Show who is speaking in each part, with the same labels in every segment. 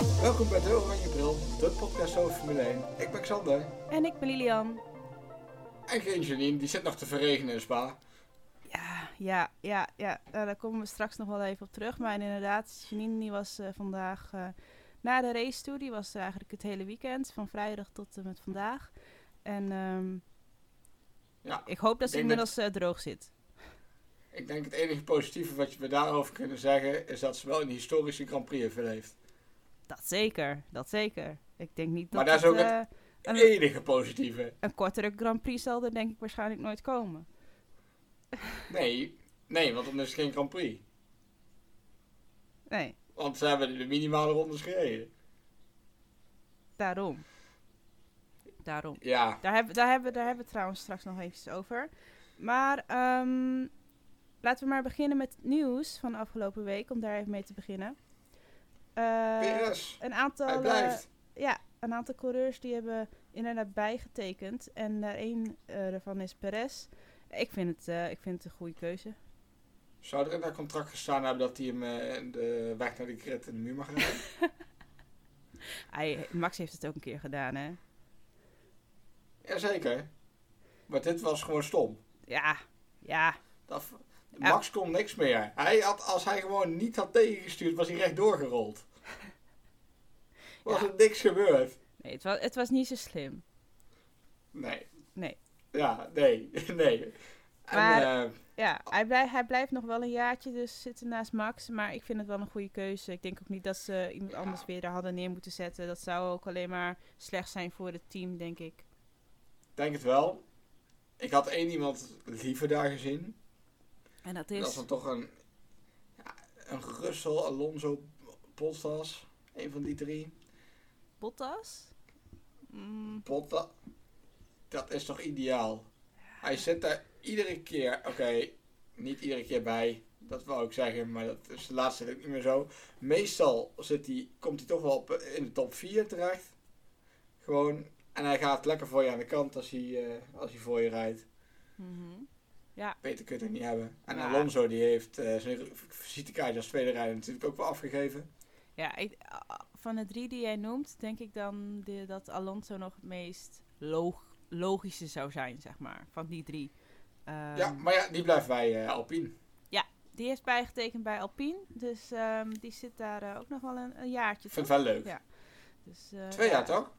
Speaker 1: De Oranje Bril, de podcast over Formule 1. Ik ben Xander.
Speaker 2: En ik ben Lilian.
Speaker 1: En geen Janine, die zit nog te verregenen in Spa.
Speaker 2: Ja, ja, ja, ja. Nou, daar komen we straks nog wel even op terug. Maar inderdaad, Janine die was eh, vandaag eh, na de race toe. Die was er eigenlijk het hele weekend, van vrijdag tot en met vandaag. En ehm,
Speaker 1: Ja,
Speaker 2: ik hoop dat ze
Speaker 1: denk dat-
Speaker 2: inmiddels eh, droog zit.
Speaker 1: ik denk het enige positieve wat we daarover kunnen zeggen is dat ze wel een historische Grand Prix heeft beleefd.
Speaker 2: Dat zeker, dat zeker. Ik denk niet
Speaker 1: Maar
Speaker 2: dat
Speaker 1: daar is
Speaker 2: het,
Speaker 1: ook
Speaker 2: eh,
Speaker 1: Het
Speaker 2: een,
Speaker 1: enige positieve.
Speaker 2: een kortere Grand Prix zal er denk ik waarschijnlijk nooit komen.
Speaker 1: Nee, nee, want dan is het geen Grand Prix.
Speaker 2: Nee,
Speaker 1: Want ze hebben de minimale rondes gereden.
Speaker 2: daarom. Daarom.
Speaker 1: Ja,
Speaker 2: Daar hebben, daar, hebben, daar hebben we het trouwens straks nog eventjes over. Maar ehm, laten we maar beginnen met het nieuws van de afgelopen week, om daar even mee te beginnen. Eh,
Speaker 1: PRS,
Speaker 2: een
Speaker 1: hij
Speaker 2: aantal, eh,
Speaker 1: blijft.
Speaker 2: ja, een aantal coureurs die hebben inderdaad bijgetekend. En daar één eh, daarvan is Perez. Ik vind, het, eh, ik vind het een goede keuze.
Speaker 1: Zou er in dat contract gestaan hebben dat hij hem eh, de weg naar de grid in de muur mag rijden?
Speaker 2: Hij, Max heeft het ook een keer gedaan, hè?
Speaker 1: Jazeker. Maar dit was gewoon stom.
Speaker 2: Ja, ja.
Speaker 1: Dat,
Speaker 2: Ja.
Speaker 1: Max kon niks meer. Hij had, als hij gewoon niet had tegengestuurd, was hij rechtdoor gerold. Was
Speaker 2: Ja.
Speaker 1: er niks gebeurd?
Speaker 2: Nee, het, was, het was niet zo slim.
Speaker 1: Nee.
Speaker 2: Nee.
Speaker 1: Ja, nee, nee. En,
Speaker 2: Maar-
Speaker 1: eh,
Speaker 2: Ja, hij, blij- hij blijft nog wel een jaartje dus zitten naast Max. Maar ik vind het wel een goede keuze. Ik denk ook niet dat ze iemand
Speaker 1: Ja.
Speaker 2: anders weer daar hadden neer moeten zetten. Dat zou ook alleen maar slecht zijn voor het team, denk ik.
Speaker 1: denk het wel. Ik had één iemand liever daar gezien.
Speaker 2: En dat
Speaker 1: Dat was
Speaker 2: is...
Speaker 1: dan toch een, ja, een Russell, Alonso, Bottas. Een van die drie.
Speaker 2: Bottas? Mm,
Speaker 1: Bottas. Dat is toch ideaal? Hij zit daar iedere keer, oké, niet iedere keer bij, dat wou ik zeggen, maar dat is de laatste tijd ook niet meer zo. Meestal zit hij, komt hij toch wel op, eh, in de top 4 terecht. Gewoon, en hij gaat lekker voor je aan de kant als hij, eh, als hij voor je rijdt.
Speaker 2: mhm.
Speaker 1: Beter kun je het niet hebben. En
Speaker 2: Ja.
Speaker 1: Alonso die heeft eh, zijn visitekaartje als tweede rijder natuurlijk ook wel afgegeven.
Speaker 2: Ja, ik, a- a- van de drie die jij noemt, denk ik dan de, dat Alonso nog het meest log- logische zou zijn, zeg maar. Van die drie. Ehm,
Speaker 1: ja, maar ja, die blijft bij eh, Alpine.
Speaker 2: Die heeft bijgetekend bij Alpine. Dus ehm, die zit daar eh, ook nog wel een, een jaartje.
Speaker 1: Ik vind
Speaker 2: Toch?
Speaker 1: het wel leuk.
Speaker 2: Ja. Dus, eh,
Speaker 1: Twee jaar
Speaker 2: ja.
Speaker 1: toch?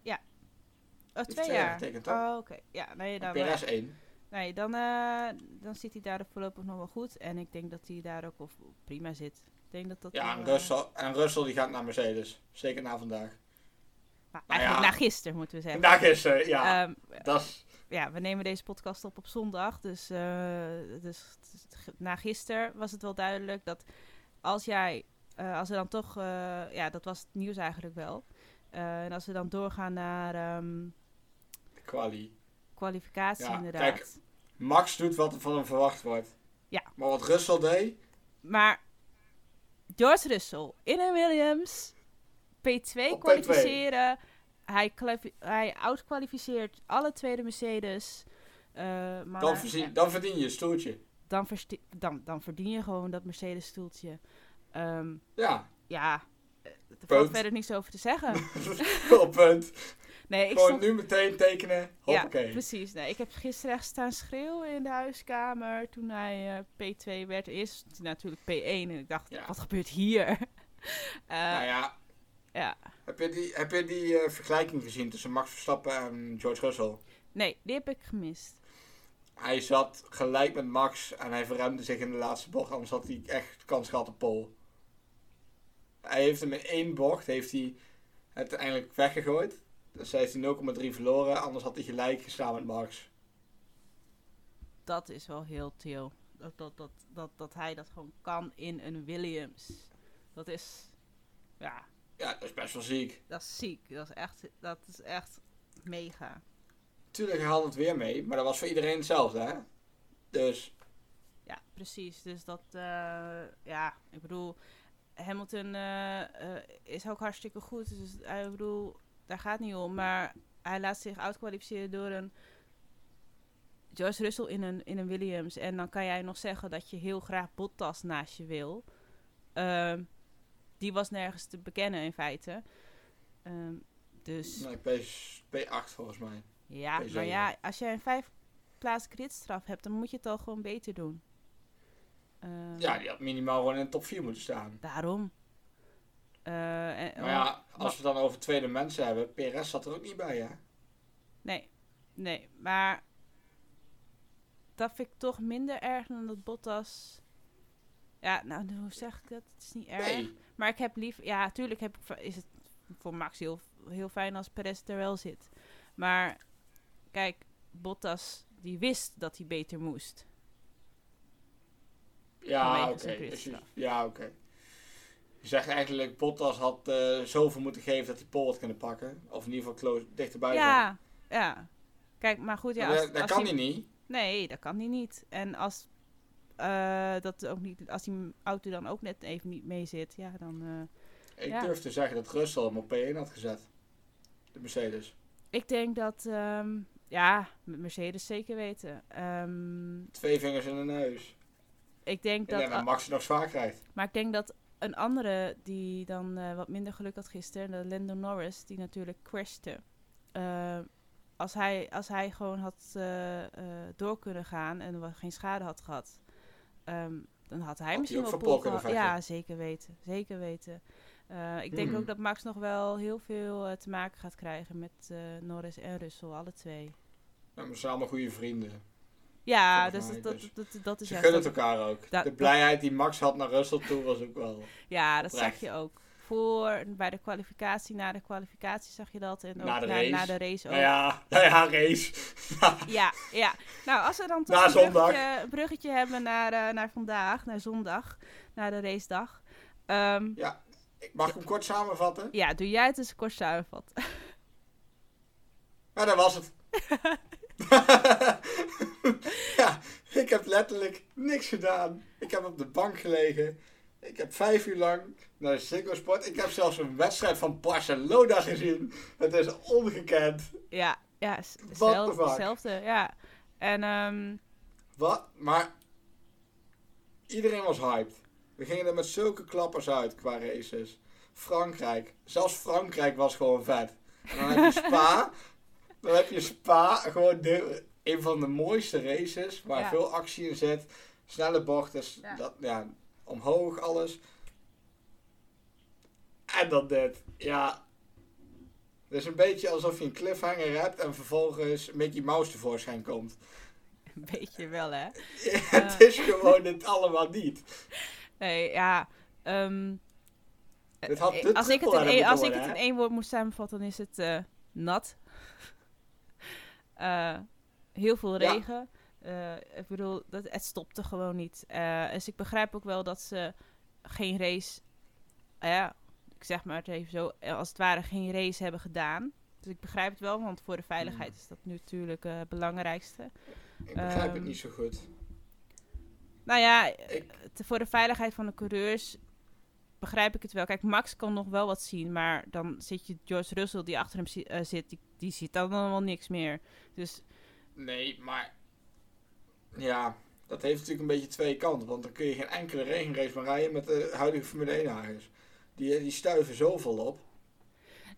Speaker 2: Oh,
Speaker 1: Is
Speaker 2: twee,
Speaker 1: twee jaar
Speaker 2: jaar.
Speaker 1: getekend, toch?
Speaker 2: oh, oké. Ja, nee, dan, eh,
Speaker 1: PRS 1.
Speaker 2: nee, dan, eh, dan zit hij daar voorlopig nog wel goed. En ik denk dat hij daar ook op, op prima zit. Ik denk dat dat
Speaker 1: Ja,
Speaker 2: wel,
Speaker 1: en
Speaker 2: eh,
Speaker 1: Russell, en Russell die gaat naar Mercedes. Zeker na vandaag.
Speaker 2: maar
Speaker 1: nou
Speaker 2: eigenlijk
Speaker 1: ja.
Speaker 2: na gisteren, moeten we zeggen.
Speaker 1: Vandaag is ze, ja.
Speaker 2: Ehm,
Speaker 1: dat is,
Speaker 2: ja, we nemen deze podcast op op zondag. Dus, eh, dus g- na gisteren was het wel duidelijk dat als jij, eh, als we dan toch, eh, ja, dat was het nieuws eigenlijk wel. Eh, en als we dan doorgaan naar ehm,
Speaker 1: de kwalie.
Speaker 2: kwalificatie,
Speaker 1: Ja,
Speaker 2: inderdaad.
Speaker 1: kijk. Max doet wat er van hem verwacht wordt.
Speaker 2: Ja.
Speaker 1: Maar wat Russell deed,
Speaker 2: Maar George Russell in een Williams P2
Speaker 1: Op P2.
Speaker 2: kwalificeren. Hij, kwalifi- hij outkwalificeert alle tweede Mercedes. Eh, maar
Speaker 1: dan, verzien- dan verdien je een stoeltje.
Speaker 2: dan, versti- dan, dan verdien je gewoon dat Mercedes stoeltje. Ehm,
Speaker 1: Ja,
Speaker 2: ja, eh, er
Speaker 1: Punt.
Speaker 2: valt verder niks over te zeggen.
Speaker 1: op punt.
Speaker 2: Nee, ik
Speaker 1: Gewoon
Speaker 2: stond...
Speaker 1: nu meteen tekenen.
Speaker 2: Ja,
Speaker 1: Hoppakee.
Speaker 2: precies. Nee, ik heb gisteren echt staan schreeuwen in de huiskamer toen hij eh, P2 werd. Eerst was hij natuurlijk P1 en ik dacht,
Speaker 1: Ja.
Speaker 2: wat gebeurt hier? Eh,
Speaker 1: nou ja.
Speaker 2: ja.
Speaker 1: Heb je die, heb je die eh, vergelijking gezien tussen Max Verstappen en George Russell?
Speaker 2: Nee, die heb ik gemist.
Speaker 1: Hij zat gelijk met Max en hij verruimde zich in de laatste bocht, anders had hij echt kans gehad op pole. Hij heeft hem in één bocht heeft hij het uiteindelijk weggegooid. Dus hij heeft hij 0,3 verloren, anders had hij gelijk gestaan met Max.
Speaker 2: Dat is wel heel chill. Dat, dat, dat, dat, dat hij dat gewoon kan in een Williams. Dat is, ja,
Speaker 1: Ja, dat is best wel ziek.
Speaker 2: dat is ziek. Dat is echt, dat is echt mega.
Speaker 1: Tuurlijk, hij had het weer mee, maar dat was voor iedereen hetzelfde, hè? Dus,
Speaker 2: Ja, precies. Dus dat, eh, ja, ik bedoel, Hamilton eh, eh, is ook hartstikke goed. Dus eh, ik bedoel, daar gaat niet om. Maar hij laat zich uitkwalificeren door een George Russell in een, in een Williams. En dan kan jij nog zeggen dat je heel graag Bottas naast je wil. Ehm, die was nergens te bekennen in feite. Eh, Ehm, dus
Speaker 1: Nee, nou, P, P8 volgens mij.
Speaker 2: ja,
Speaker 1: P7.
Speaker 2: maar ja, als jij een vijf plaats gridstraf hebt, dan moet je het al gewoon beter doen. Ehm,
Speaker 1: Ja, die had minimaal gewoon in de top 4 moeten staan.
Speaker 2: Daarom. Eh, en-
Speaker 1: Maar Nou ja, als we het dan over tweede mensen hebben, PRS zat er ook niet bij, hè?
Speaker 2: Nee, nee, maar dat vind ik toch minder erg dan dat Bottas. Ja, nou, nu- hoe zeg ik dat? Het is niet erg.
Speaker 1: Nee.
Speaker 2: Maar ik heb liever, ja, tuurlijk heb ik, va- is het voor Max heel, heel fijn als Perez er wel zit. Maar kijk, Bottas, die wist dat hij beter moest.
Speaker 1: Ja,
Speaker 2: Vanwege
Speaker 1: oké.
Speaker 2: zijn
Speaker 1: Dus je-
Speaker 2: kunststraf.
Speaker 1: Ja, oké. Je zegt eigenlijk, Bottas had eh, zoveel moeten geven dat hij Pol had kunnen pakken. Of in ieder geval close, dichterbij. kwam.
Speaker 2: Ja, ja. Kijk, maar goed, ja.
Speaker 1: Maar
Speaker 2: Als,
Speaker 1: dat dat
Speaker 2: als
Speaker 1: kan
Speaker 2: hij-
Speaker 1: hij niet.
Speaker 2: Nee, dat kan hij niet. En als, eh, dat ook niet, als die auto dan ook net even niet mee zit, ja, dan. eh,
Speaker 1: Ik
Speaker 2: Ja.
Speaker 1: durf te zeggen dat Russell hem op P1 had gezet. De Mercedes.
Speaker 2: Ik denk dat, ehm, ja, met Mercedes zeker weten. Ehm,
Speaker 1: Twee vingers in de neus.
Speaker 2: ik denk
Speaker 1: En
Speaker 2: dat,
Speaker 1: dan dat Max het nog zwaar krijgt.
Speaker 2: maar ik denk dat een andere die dan eh, wat minder geluk had gisteren, de Lando Norris, die natuurlijk crashte. eh, als, hij, als hij gewoon had eh, eh, door kunnen gaan en wa- geen schade had gehad, ehm, dan had hij
Speaker 1: hij
Speaker 2: misschien
Speaker 1: ook
Speaker 2: wel
Speaker 1: voor Paul
Speaker 2: pole
Speaker 1: kunnen
Speaker 2: gehad. Ja,
Speaker 1: vechten.
Speaker 2: zeker weten, zeker weten. Eh, ik denk
Speaker 1: Hmm.
Speaker 2: ook dat Max nog wel heel veel eh, te maken gaat krijgen met eh, Norris en Russell, alle twee.
Speaker 1: Nou, maar ze zijn allemaal goede vrienden.
Speaker 2: Ja,
Speaker 1: Volgens
Speaker 2: dus dat,
Speaker 1: mij,
Speaker 2: dat, dat, dat, dat is
Speaker 1: Ze
Speaker 2: juist
Speaker 1: gunnen
Speaker 2: ook-
Speaker 1: het elkaar ook.
Speaker 2: dat-
Speaker 1: de
Speaker 2: dat-
Speaker 1: blijheid die Max had naar Russell toe was ook wel.
Speaker 2: Ja, dat
Speaker 1: oprecht.
Speaker 2: zag je ook. Voor, bij de kwalificatie, na de kwalificatie zag je dat. En ook
Speaker 1: Na
Speaker 2: na
Speaker 1: de
Speaker 2: na,
Speaker 1: race.
Speaker 2: de race ook.
Speaker 1: Nou ja, nou ja, race.
Speaker 2: ja, ja. Nou, als we dan
Speaker 1: Na
Speaker 2: toch een
Speaker 1: zondag.
Speaker 2: bruggetje, een bruggetje hebben naar, eh, naar vandaag, naar zondag, naar de racedag. Ehm,
Speaker 1: Ik mag hem kort samenvatten.
Speaker 2: ja, doe jij het eens kort samenvat.
Speaker 1: Ja, dat was het. ja, ik heb letterlijk niks gedaan. Ik heb op de bank gelegen. Ik heb vijf uur lang naar de Ziggo Sport. Ik heb zelfs een wedstrijd van Barcelona gezien. Het is ongekend.
Speaker 2: ja, ja s-
Speaker 1: the
Speaker 2: zelf-
Speaker 1: fuck?
Speaker 2: hetzelfde. Ja. En ehm,
Speaker 1: Wat? Maar iedereen was hyped. We gingen er met zulke klappers uit qua races. Frankrijk. Zelfs Frankrijk was gewoon vet. En dan heb je Spa. dan heb je Spa. Gewoon de, een van de mooiste races. Waar
Speaker 2: Ja.
Speaker 1: veel actie in zit. Snelle bochten. s-
Speaker 2: Ja.
Speaker 1: Dat, ja, omhoog alles. En dan dit. Ja. Het is een beetje alsof je een cliffhanger hebt. En vervolgens Mickey Mouse tevoorschijn komt.
Speaker 2: een beetje wel, hè.
Speaker 1: het is gewoon het allemaal niet.
Speaker 2: Nee, ja. ehm,
Speaker 1: Dit had
Speaker 2: eh,
Speaker 1: de
Speaker 2: als ik het,
Speaker 1: triple
Speaker 2: in
Speaker 1: hebben
Speaker 2: één, als ik
Speaker 1: moeten
Speaker 2: het in
Speaker 1: worden,
Speaker 2: één woord moest samenvatten, dan is het eh, nat. Eh, heel veel
Speaker 1: Ja.
Speaker 2: regen. Eh, ik bedoel, dat, het stopte gewoon niet. Eh, dus ik begrijp ook wel dat ze geen race, eh, ja, ik zeg maar het even zo, eh, als het ware geen race hebben gedaan. Dus ik begrijp het wel, want voor de veiligheid
Speaker 1: Hmm.
Speaker 2: is dat nu natuurlijk eh, het belangrijkste.
Speaker 1: Ik begrijp het
Speaker 2: Ehm,
Speaker 1: niet zo goed.
Speaker 2: Nou ja,
Speaker 1: Ik-
Speaker 2: te- voor de veiligheid van de coureurs begrijp ik het wel. Kijk, Max kan nog wel wat zien, maar dan zit je George Russell die achter hem zi- eh, zit, die, die ziet dan allemaal niks meer. Dus
Speaker 1: Nee, maar... Ja, dat heeft natuurlijk een beetje twee kanten. Want dan kun je geen enkele regenrace meer rijden met de huidige Formule 1-hagers. Die, die stuiven zoveel op.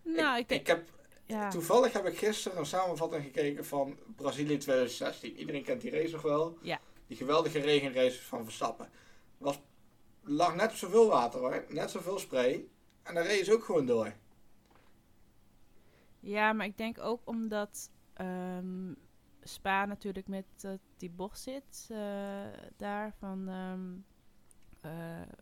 Speaker 2: nou, ik,
Speaker 1: ik,
Speaker 2: denk,
Speaker 1: ik heb,
Speaker 2: ja,
Speaker 1: Toevallig heb ik gisteren een samenvatting gekeken van Brazilië 2016. Iedereen kent die race nog wel.
Speaker 2: Ja.
Speaker 1: Die geweldige regenrace van Verstappen. Was, lag net zoveel water hoor. Net zoveel spray. En daar reed ze ook gewoon door.
Speaker 2: ja, maar ik denk ook omdat ehm, Spa natuurlijk met eh, die bocht zit, eh, daar van ehm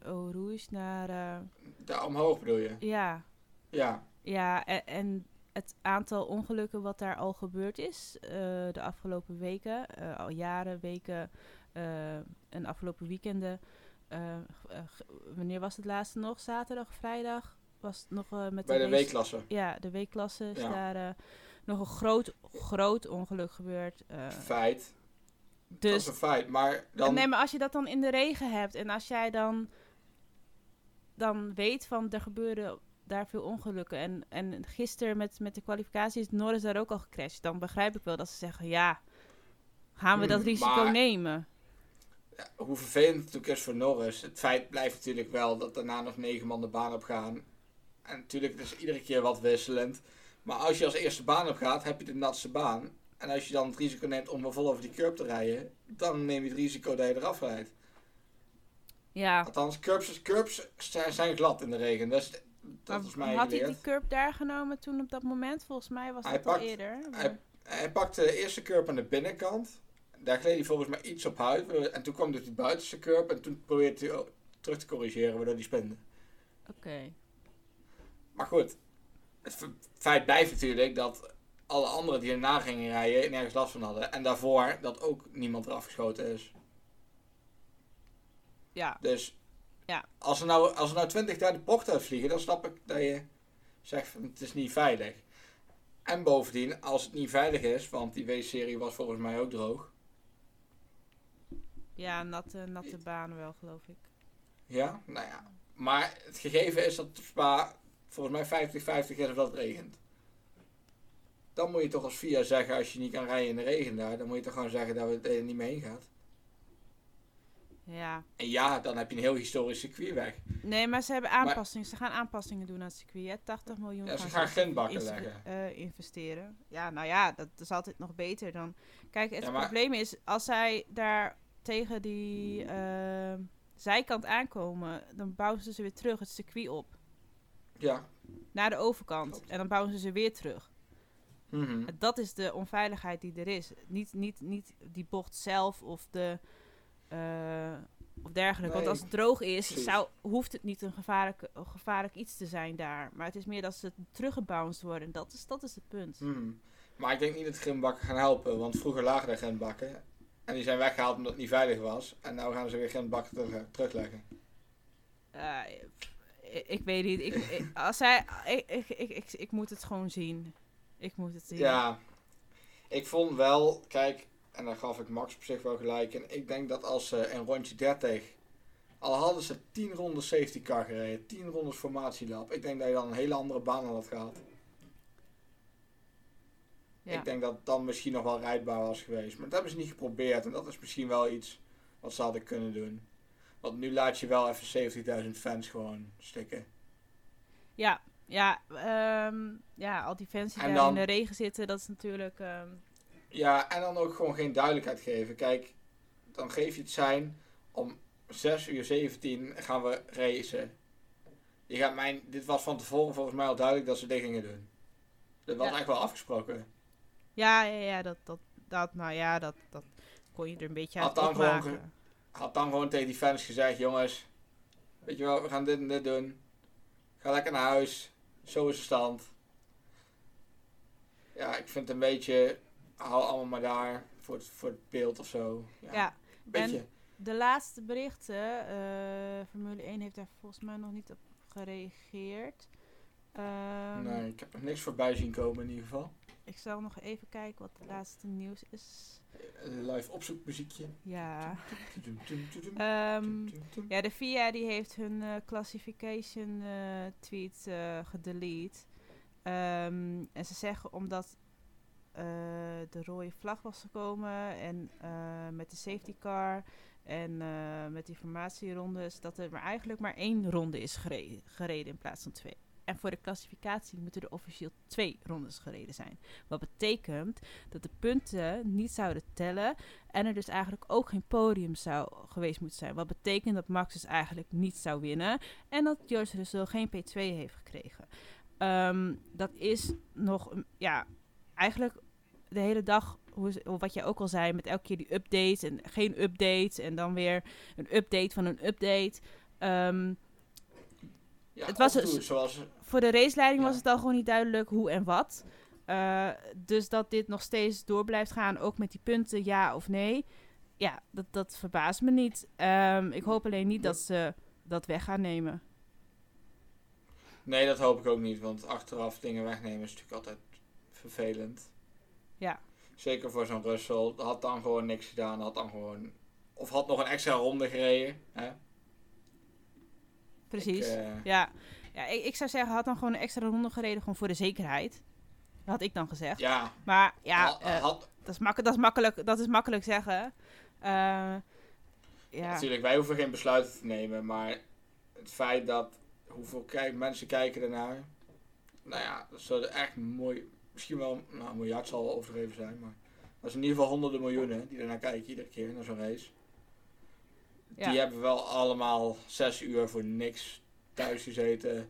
Speaker 2: eh, Oruis naar, eh,
Speaker 1: Daar omhoog bedoel je?
Speaker 2: ja,
Speaker 1: Ja.
Speaker 2: Ja, en, en het aantal ongelukken wat daar al gebeurd is eh, de afgelopen weken, eh, al jaren, weken eh, en afgelopen weekenden. eh, g- eh, g- wanneer was het laatste nog? Zaterdag, vrijdag? Was het nog eh, met
Speaker 1: Bij de
Speaker 2: race-
Speaker 1: W-klasse.
Speaker 2: Ja, de weekklasse is
Speaker 1: Ja.
Speaker 2: daar eh, nog een groot, groot ongeluk gebeurd. eh,
Speaker 1: Feit. Dat is
Speaker 2: dus
Speaker 1: een feit. Maar dan...
Speaker 2: Nee, maar als je dat dan in de regen hebt en als jij dan, dan weet van er gebeuren daar veel ongelukken. En, en gisteren met, met de kwalificatie is Norris daar ook al gecrashed. Dan begrijp ik wel dat ze zeggen, ja, gaan we dat
Speaker 1: Hmm,
Speaker 2: risico
Speaker 1: maar-
Speaker 2: nemen?
Speaker 1: ja, hoe vervelend het natuurlijk is voor Norris. Het feit blijft natuurlijk wel dat daarna nog negen man de baan op gaan. En natuurlijk, het is iedere keer wat wisselend. Maar als je als eerste baan op gaat, heb je de natste baan. En als je dan het risico neemt om maar vol over die curb te rijden, dan neem je het risico dat je eraf rijdt.
Speaker 2: Ja,
Speaker 1: Althans, curbs, curbs zijn, zijn glad in de regen. Dat is, dat is mij
Speaker 2: had hij
Speaker 1: geleerd.
Speaker 2: die curb daar genomen toen op dat moment? Volgens mij was
Speaker 1: Hij
Speaker 2: dat al
Speaker 1: pakt-
Speaker 2: eerder.
Speaker 1: Hij, hij pakte de eerste curb aan de binnenkant. Daar gleed hij volgens mij iets op uit. En toen kwam dus die buitenste curb. En toen probeerde hij ook terug te corrigeren, waardoor hij spende.
Speaker 2: Oké.
Speaker 1: Maar goed, het fe- feit blijft natuurlijk dat alle anderen die erna gingen rijden nergens last van hadden. En daarvoor dat ook niemand eraf geschoten is.
Speaker 2: Ja,
Speaker 1: Dus
Speaker 2: Ja.
Speaker 1: als, er nou, als er nou 20 daar de bocht uit vliegen, dan snap ik dat je zegt van het is niet veilig. En bovendien, als het niet veilig is, want die W-serie was volgens mij ook droog.
Speaker 2: ja natte, natte baan wel, geloof ik.
Speaker 1: Ja, nou ja. Maar het gegeven is dat op Spa volgens mij 50-50 is of dat regent. Dan moet je toch als VIA zeggen, als je niet kan rijden in de regen daar, dan moet je toch gewoon zeggen dat we er niet mee heen gaat.
Speaker 2: Ja.
Speaker 1: En ja, dan heb je een heel historisch circuit weg.
Speaker 2: Nee, maar ze hebben aanpassingen. Ze gaan aanpassingen doen aan het circuit. hè. 80 miljoen
Speaker 1: Ja, ze
Speaker 2: ze
Speaker 1: gaan grindbakken
Speaker 2: inst-
Speaker 1: leggen.
Speaker 2: eh, investeren. Ja, nou ja, dat is altijd nog beter dan. Kijk, het
Speaker 1: Ja, maar-
Speaker 2: probleem is als zij daar tegen die ehm, zijkant aankomen, dan bouwen ze ze weer terug het circuit op
Speaker 1: Ja.
Speaker 2: naar de overkant
Speaker 1: Klopt.
Speaker 2: en dan bouwen ze ze weer terug.
Speaker 1: Mhm.
Speaker 2: Dat is de onveiligheid die er is. Niet, niet, niet die bocht zelf of de eh, of dergelijke. Want
Speaker 1: Nee,
Speaker 2: als het droog is,
Speaker 1: precies.
Speaker 2: zou, hoeft het niet een gevaarlijk, een gevaarlijk iets te zijn daar. Maar het is meer dat ze teruggebounced worden. Dat is, dat is het punt.
Speaker 1: Mhm. Maar ik denk niet dat grindbakken gaan helpen, want vroeger lagen er grindbakken. En die zijn weggehaald omdat het niet veilig was. En nou gaan ze weer grindbakken terug- terugleggen.
Speaker 2: Eh, ik, ik weet niet. Ik, ik- als hij, ik, ik, ik, ik, ik moet het gewoon zien. Ik moet het zien.
Speaker 1: Ja, ik vond wel, kijk, en daar gaf ik Max op zich wel gelijk in. Ik denk dat als ze in rondje 30, al hadden ze 10 rondes safety car gereden, 10 rondes formatielab, ik denk dat je dan een hele andere baan aan had gehad.
Speaker 2: Ja.
Speaker 1: Ik denk dat het dan misschien nog wel rijdbaar was geweest. Maar dat hebben ze niet geprobeerd en dat is misschien wel iets wat ze hadden kunnen doen. Want nu laat je wel even 70.000 fans gewoon stikken.
Speaker 2: Ja, ja, ehm, ja al die fans die
Speaker 1: En
Speaker 2: daar in
Speaker 1: dan-
Speaker 2: de regen zitten, dat is natuurlijk... ehm,
Speaker 1: Ja, en dan ook gewoon geen duidelijkheid geven. Kijk, dan geef je het zijn om 6 uur 17 gaan we racen. Je gaat mijn, dit was van tevoren volgens mij al duidelijk dat ze dit gingen doen. Dat was
Speaker 2: Ja.
Speaker 1: eigenlijk wel afgesproken.
Speaker 2: ja, ja, ja, dat, dat, dat, nou ja, dat, dat kon je er een beetje uit
Speaker 1: Had dan gewoon
Speaker 2: opmaken.
Speaker 1: Had dan gewoon tegen die fans gezegd, jongens, weet je wel, we gaan dit en dit doen. Ga lekker naar huis. Zo is de stand. Ja, ik vind het een beetje, hou allemaal maar daar voor het, voor het beeld of zo. Ja,
Speaker 2: Ja,
Speaker 1: een beetje.
Speaker 2: De laatste berichten, eh, Formule 1 heeft daar volgens mij nog niet op gereageerd. Ehm,
Speaker 1: nee, ik heb er niks voorbij zien komen in ieder geval.
Speaker 2: Ik zal nog even kijken wat het laatste nieuws is.
Speaker 1: Eh, live opzoekmuziekje.
Speaker 2: Ja.
Speaker 1: Tudum, tudum, tudum,
Speaker 2: Ehm,
Speaker 1: tudum, tudum.
Speaker 2: ja, de FIA die heeft hun eh, classification eh, tweet eh, gedelete. Ehm, en ze zeggen omdat eh, de rode vlag was gekomen en eh, met de safety car en eh, met die formatierondes, dat er maar eigenlijk maar één ronde is gereden, gereden in plaats van twee. En voor de klassificatie moeten er officieel twee rondes gereden zijn. Wat betekent dat de punten niet zouden tellen en er dus eigenlijk ook geen podium zou geweest moeten zijn. Wat betekent dat Max dus eigenlijk niet zou winnen. En dat George Russell geen P2 heeft gekregen. Ehm, dat is nog, een- ja, eigenlijk de hele dag, hoe is- wat jij ook al zei, met elke keer die updates en geen updates. En dan weer een update van een update. Ehm,
Speaker 1: Ja,
Speaker 2: het was
Speaker 1: af en toe
Speaker 2: een-
Speaker 1: zoals.
Speaker 2: voor de raceleiding
Speaker 1: Ja.
Speaker 2: was het al gewoon niet duidelijk hoe en wat. Eh, dus dat dit nog steeds door blijft gaan, ook met die punten ja of nee. Ja, dat, dat verbaast me niet. Ehm, ik hoop alleen niet dat ze dat weg gaan nemen.
Speaker 1: Nee, dat hoop ik ook niet, want achteraf dingen wegnemen is natuurlijk altijd vervelend.
Speaker 2: Ja.
Speaker 1: Zeker voor zo'n Russell. Had dan gewoon niks gedaan, had dan gewoon. Of had nog een extra ronde gereden. Hè?
Speaker 2: Precies.
Speaker 1: Ik, eh,
Speaker 2: ja, ja ik, ik zou zeggen, had dan gewoon een extra ronde gereden, gewoon voor de zekerheid. Dat had ik dan gezegd.
Speaker 1: ja,
Speaker 2: Maar ja,
Speaker 1: had,
Speaker 2: eh,
Speaker 1: had-
Speaker 2: dat, is makkel- dat, is makkelijk, dat is makkelijk zeggen. Eh, ja.
Speaker 1: natuurlijk, wij hoeven geen besluiten te nemen, maar het feit dat hoeveel kijk, mensen kijken ernaar. Nou ja, dat zou echt mooi, misschien wel nou, een miljard zal wel overdreven zijn, maar dat is in ieder geval honderden miljoenen die ernaar kijken iedere keer naar zo'n race.
Speaker 2: Ja.
Speaker 1: Die hebben wel allemaal zes uur voor niks thuis gezeten. Een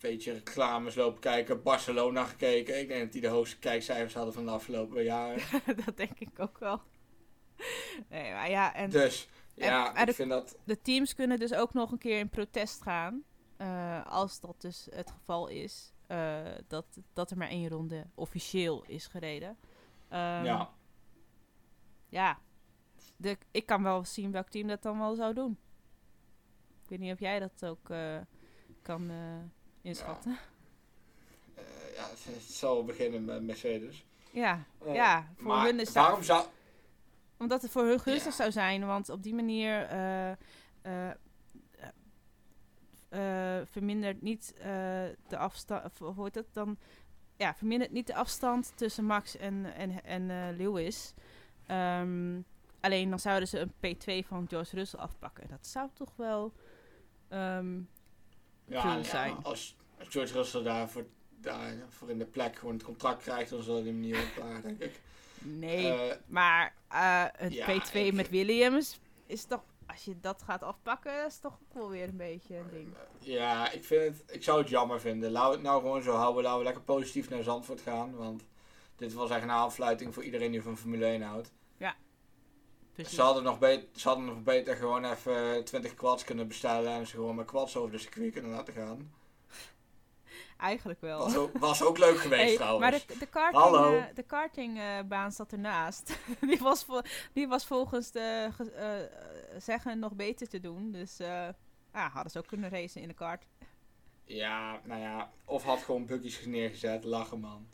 Speaker 1: beetje reclames lopen kijken, Barcelona gekeken. Ik denk dat die de hoogste kijkcijfers hadden van de afgelopen jaren.
Speaker 2: dat denk ik ook wel. Nee, maar ja, en
Speaker 1: Dus
Speaker 2: En-
Speaker 1: ja,
Speaker 2: maar
Speaker 1: ik
Speaker 2: de-
Speaker 1: vind dat.
Speaker 2: de teams kunnen dus ook nog een keer in protest gaan. eh, als dat dus het geval is. eh, dat, dat er maar één ronde officieel is gereden. Ehm,
Speaker 1: ja,
Speaker 2: ja. De, ik kan wel zien welk team dat dan wel zou doen. Ik weet niet of jij dat ook eh, kan eh, inschatten.
Speaker 1: eh, ja, het, het zal beginnen met Mercedes.
Speaker 2: Ja, ja,
Speaker 1: Eh,
Speaker 2: voor
Speaker 1: maar
Speaker 2: hun is dat-
Speaker 1: waarom zou.
Speaker 2: Omdat het voor hun gunstig
Speaker 1: Ja.
Speaker 2: zou zijn, want op die manier eh, eh, eh, eh, vermindert niet eh, de afstand. Hoe heet dat dan? Ja, vermindert niet de afstand tussen Max en, en, en eh, Lewis. Ehm, alleen dan zouden ze een P2 van George Russell afpakken. En dat zou toch wel. ehm,
Speaker 1: Ja,
Speaker 2: cool
Speaker 1: ja,
Speaker 2: zijn.
Speaker 1: Als als George Russell daarvoor, daarvoor in de plek gewoon het contract krijgt, dan zal hij hem niet opklaar, denk ik.
Speaker 2: nee,
Speaker 1: Eh,
Speaker 2: maar eh een
Speaker 1: ja,
Speaker 2: P2
Speaker 1: ik-
Speaker 2: met Williams is toch. Als je dat gaat afpakken, is toch wel weer een beetje een ding.
Speaker 1: ja, ik, vind het, ik zou het jammer vinden. Laten we het nou gewoon zo houden. Laten we lekker positief naar Zandvoort gaan. Want dit was echt een aanfluiting voor iedereen die van Formule 1 houdt. Ze hadden, nog beter, ze hadden nog beter gewoon even 20 quads kunnen bestellen en ze gewoon met quads over de circuit kunnen laten gaan.
Speaker 2: Eigenlijk wel.
Speaker 1: Was ook, was ook leuk geweest
Speaker 2: Oh. Hey,
Speaker 1: trouwens.
Speaker 2: maar de, de karting,
Speaker 1: Hallo.
Speaker 2: eh, de kartingbaan zat ernaast. die, was vol- die was volgens de ge- eh, eh, zeggen nog beter te doen. Dus eh, ah, hadden ze ook kunnen racen in de kart.
Speaker 1: Ja, nou ja. Of had gewoon buggies neergezet. Lachen man.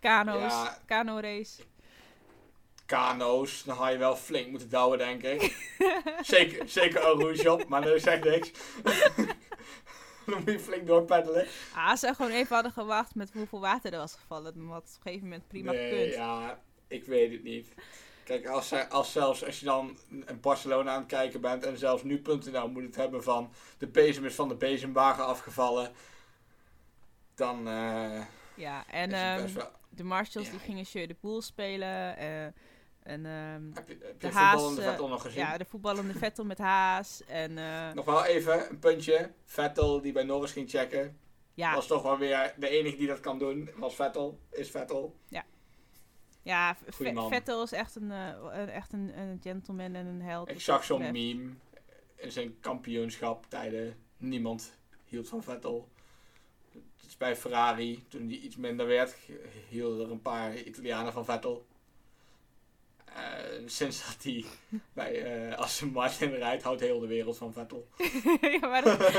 Speaker 2: Kano's,
Speaker 1: Ja.
Speaker 2: kano race.
Speaker 1: Kano's, dan had je wel flink moeten douwen denk ik. zeker, zeker een rouge op, maar dat zegt niks. dan moet je flink doorpeddelen.
Speaker 2: Ah, als ze gewoon even hadden gewacht met hoeveel water er was gevallen. Dan had het op een gegeven moment prima
Speaker 1: nee,
Speaker 2: gekund.
Speaker 1: ja, ik weet het niet. Kijk, als, zij- als zelfs als je dan een Barcelona aan het kijken bent en zelfs nu.nl moet het hebben van de bezem is van de bezemwagen afgevallen, dan eh,
Speaker 2: Ja, en
Speaker 1: is het
Speaker 2: ehm,
Speaker 1: best wel...
Speaker 2: de marshals
Speaker 1: ja,
Speaker 2: die
Speaker 1: ik-
Speaker 2: gingen Jeu de Boel spelen. eh, en ehm,
Speaker 1: Heb je, heb
Speaker 2: de
Speaker 1: je
Speaker 2: Haas,
Speaker 1: voetballende
Speaker 2: eh,
Speaker 1: Vettel nog gezien?
Speaker 2: ja, de voetballende Vettel met Haas. En eh,
Speaker 1: Nog wel even een puntje. Vettel die bij Norris ging checken,
Speaker 2: ja,
Speaker 1: was toch wel weer de enige die dat kan doen. Was Vettel, is Vettel.
Speaker 2: Ja, v-
Speaker 1: Goeie
Speaker 2: Ve-
Speaker 1: man.
Speaker 2: Vettel is echt een, eh, een- echt een, een gentleman en een held.
Speaker 1: Ik
Speaker 2: wat
Speaker 1: zag
Speaker 2: dat
Speaker 1: zo'n
Speaker 2: betreft.
Speaker 1: meme in zijn kampioenschap tijden. Niemand hield van Vettel. Het is bij Ferrari, toen die iets minder werd, hielden er een paar Italianen van Vettel. Eh, sinds dat hij bij eh Aston Martin rijdt, houdt heel de wereld van Vettel.
Speaker 2: ja, maar dat-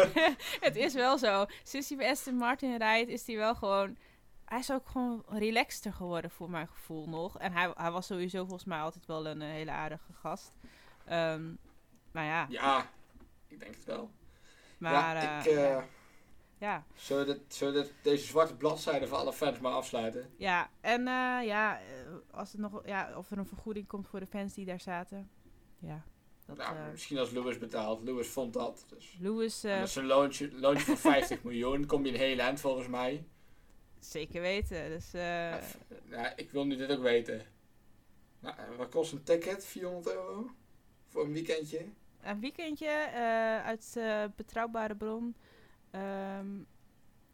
Speaker 2: het is wel zo. Sinds hij bij Aston Martin rijdt, is hij wel gewoon... Hij is ook gewoon relaxter geworden voor mijn gevoel nog. En hij, hij was sowieso volgens mij altijd wel een eh, hele aardige gast. Ehm, maar ja,
Speaker 1: Ja, ik denk het wel.
Speaker 2: maar...
Speaker 1: ja, ik,
Speaker 2: eh,
Speaker 1: eh,
Speaker 2: ja. ja.
Speaker 1: Zullen we, dit, zullen we dit- deze zwarte bladzijde voor alle fans maar afsluiten?
Speaker 2: Ja, en eh, ja, eh, als het nog, ja, of er een vergoeding komt voor de fans die daar zaten. Ja, dat...
Speaker 1: nou,
Speaker 2: eh,
Speaker 1: Misschien als Lewis betaalt. Lewis vond dat. Dus.
Speaker 2: Lewis... eh,
Speaker 1: En Met zo'n loontje, loontje van 50 miljoen kom je een hele eind volgens mij.
Speaker 2: Zeker weten. Dus eh,
Speaker 1: Ja, f- nou, ik wil nu dit ook weten. Nou, eh, wat kost een ticket? 400 euro? Voor een weekendje?
Speaker 2: een weekendje eh, uit eh, betrouwbare bron. Ehm,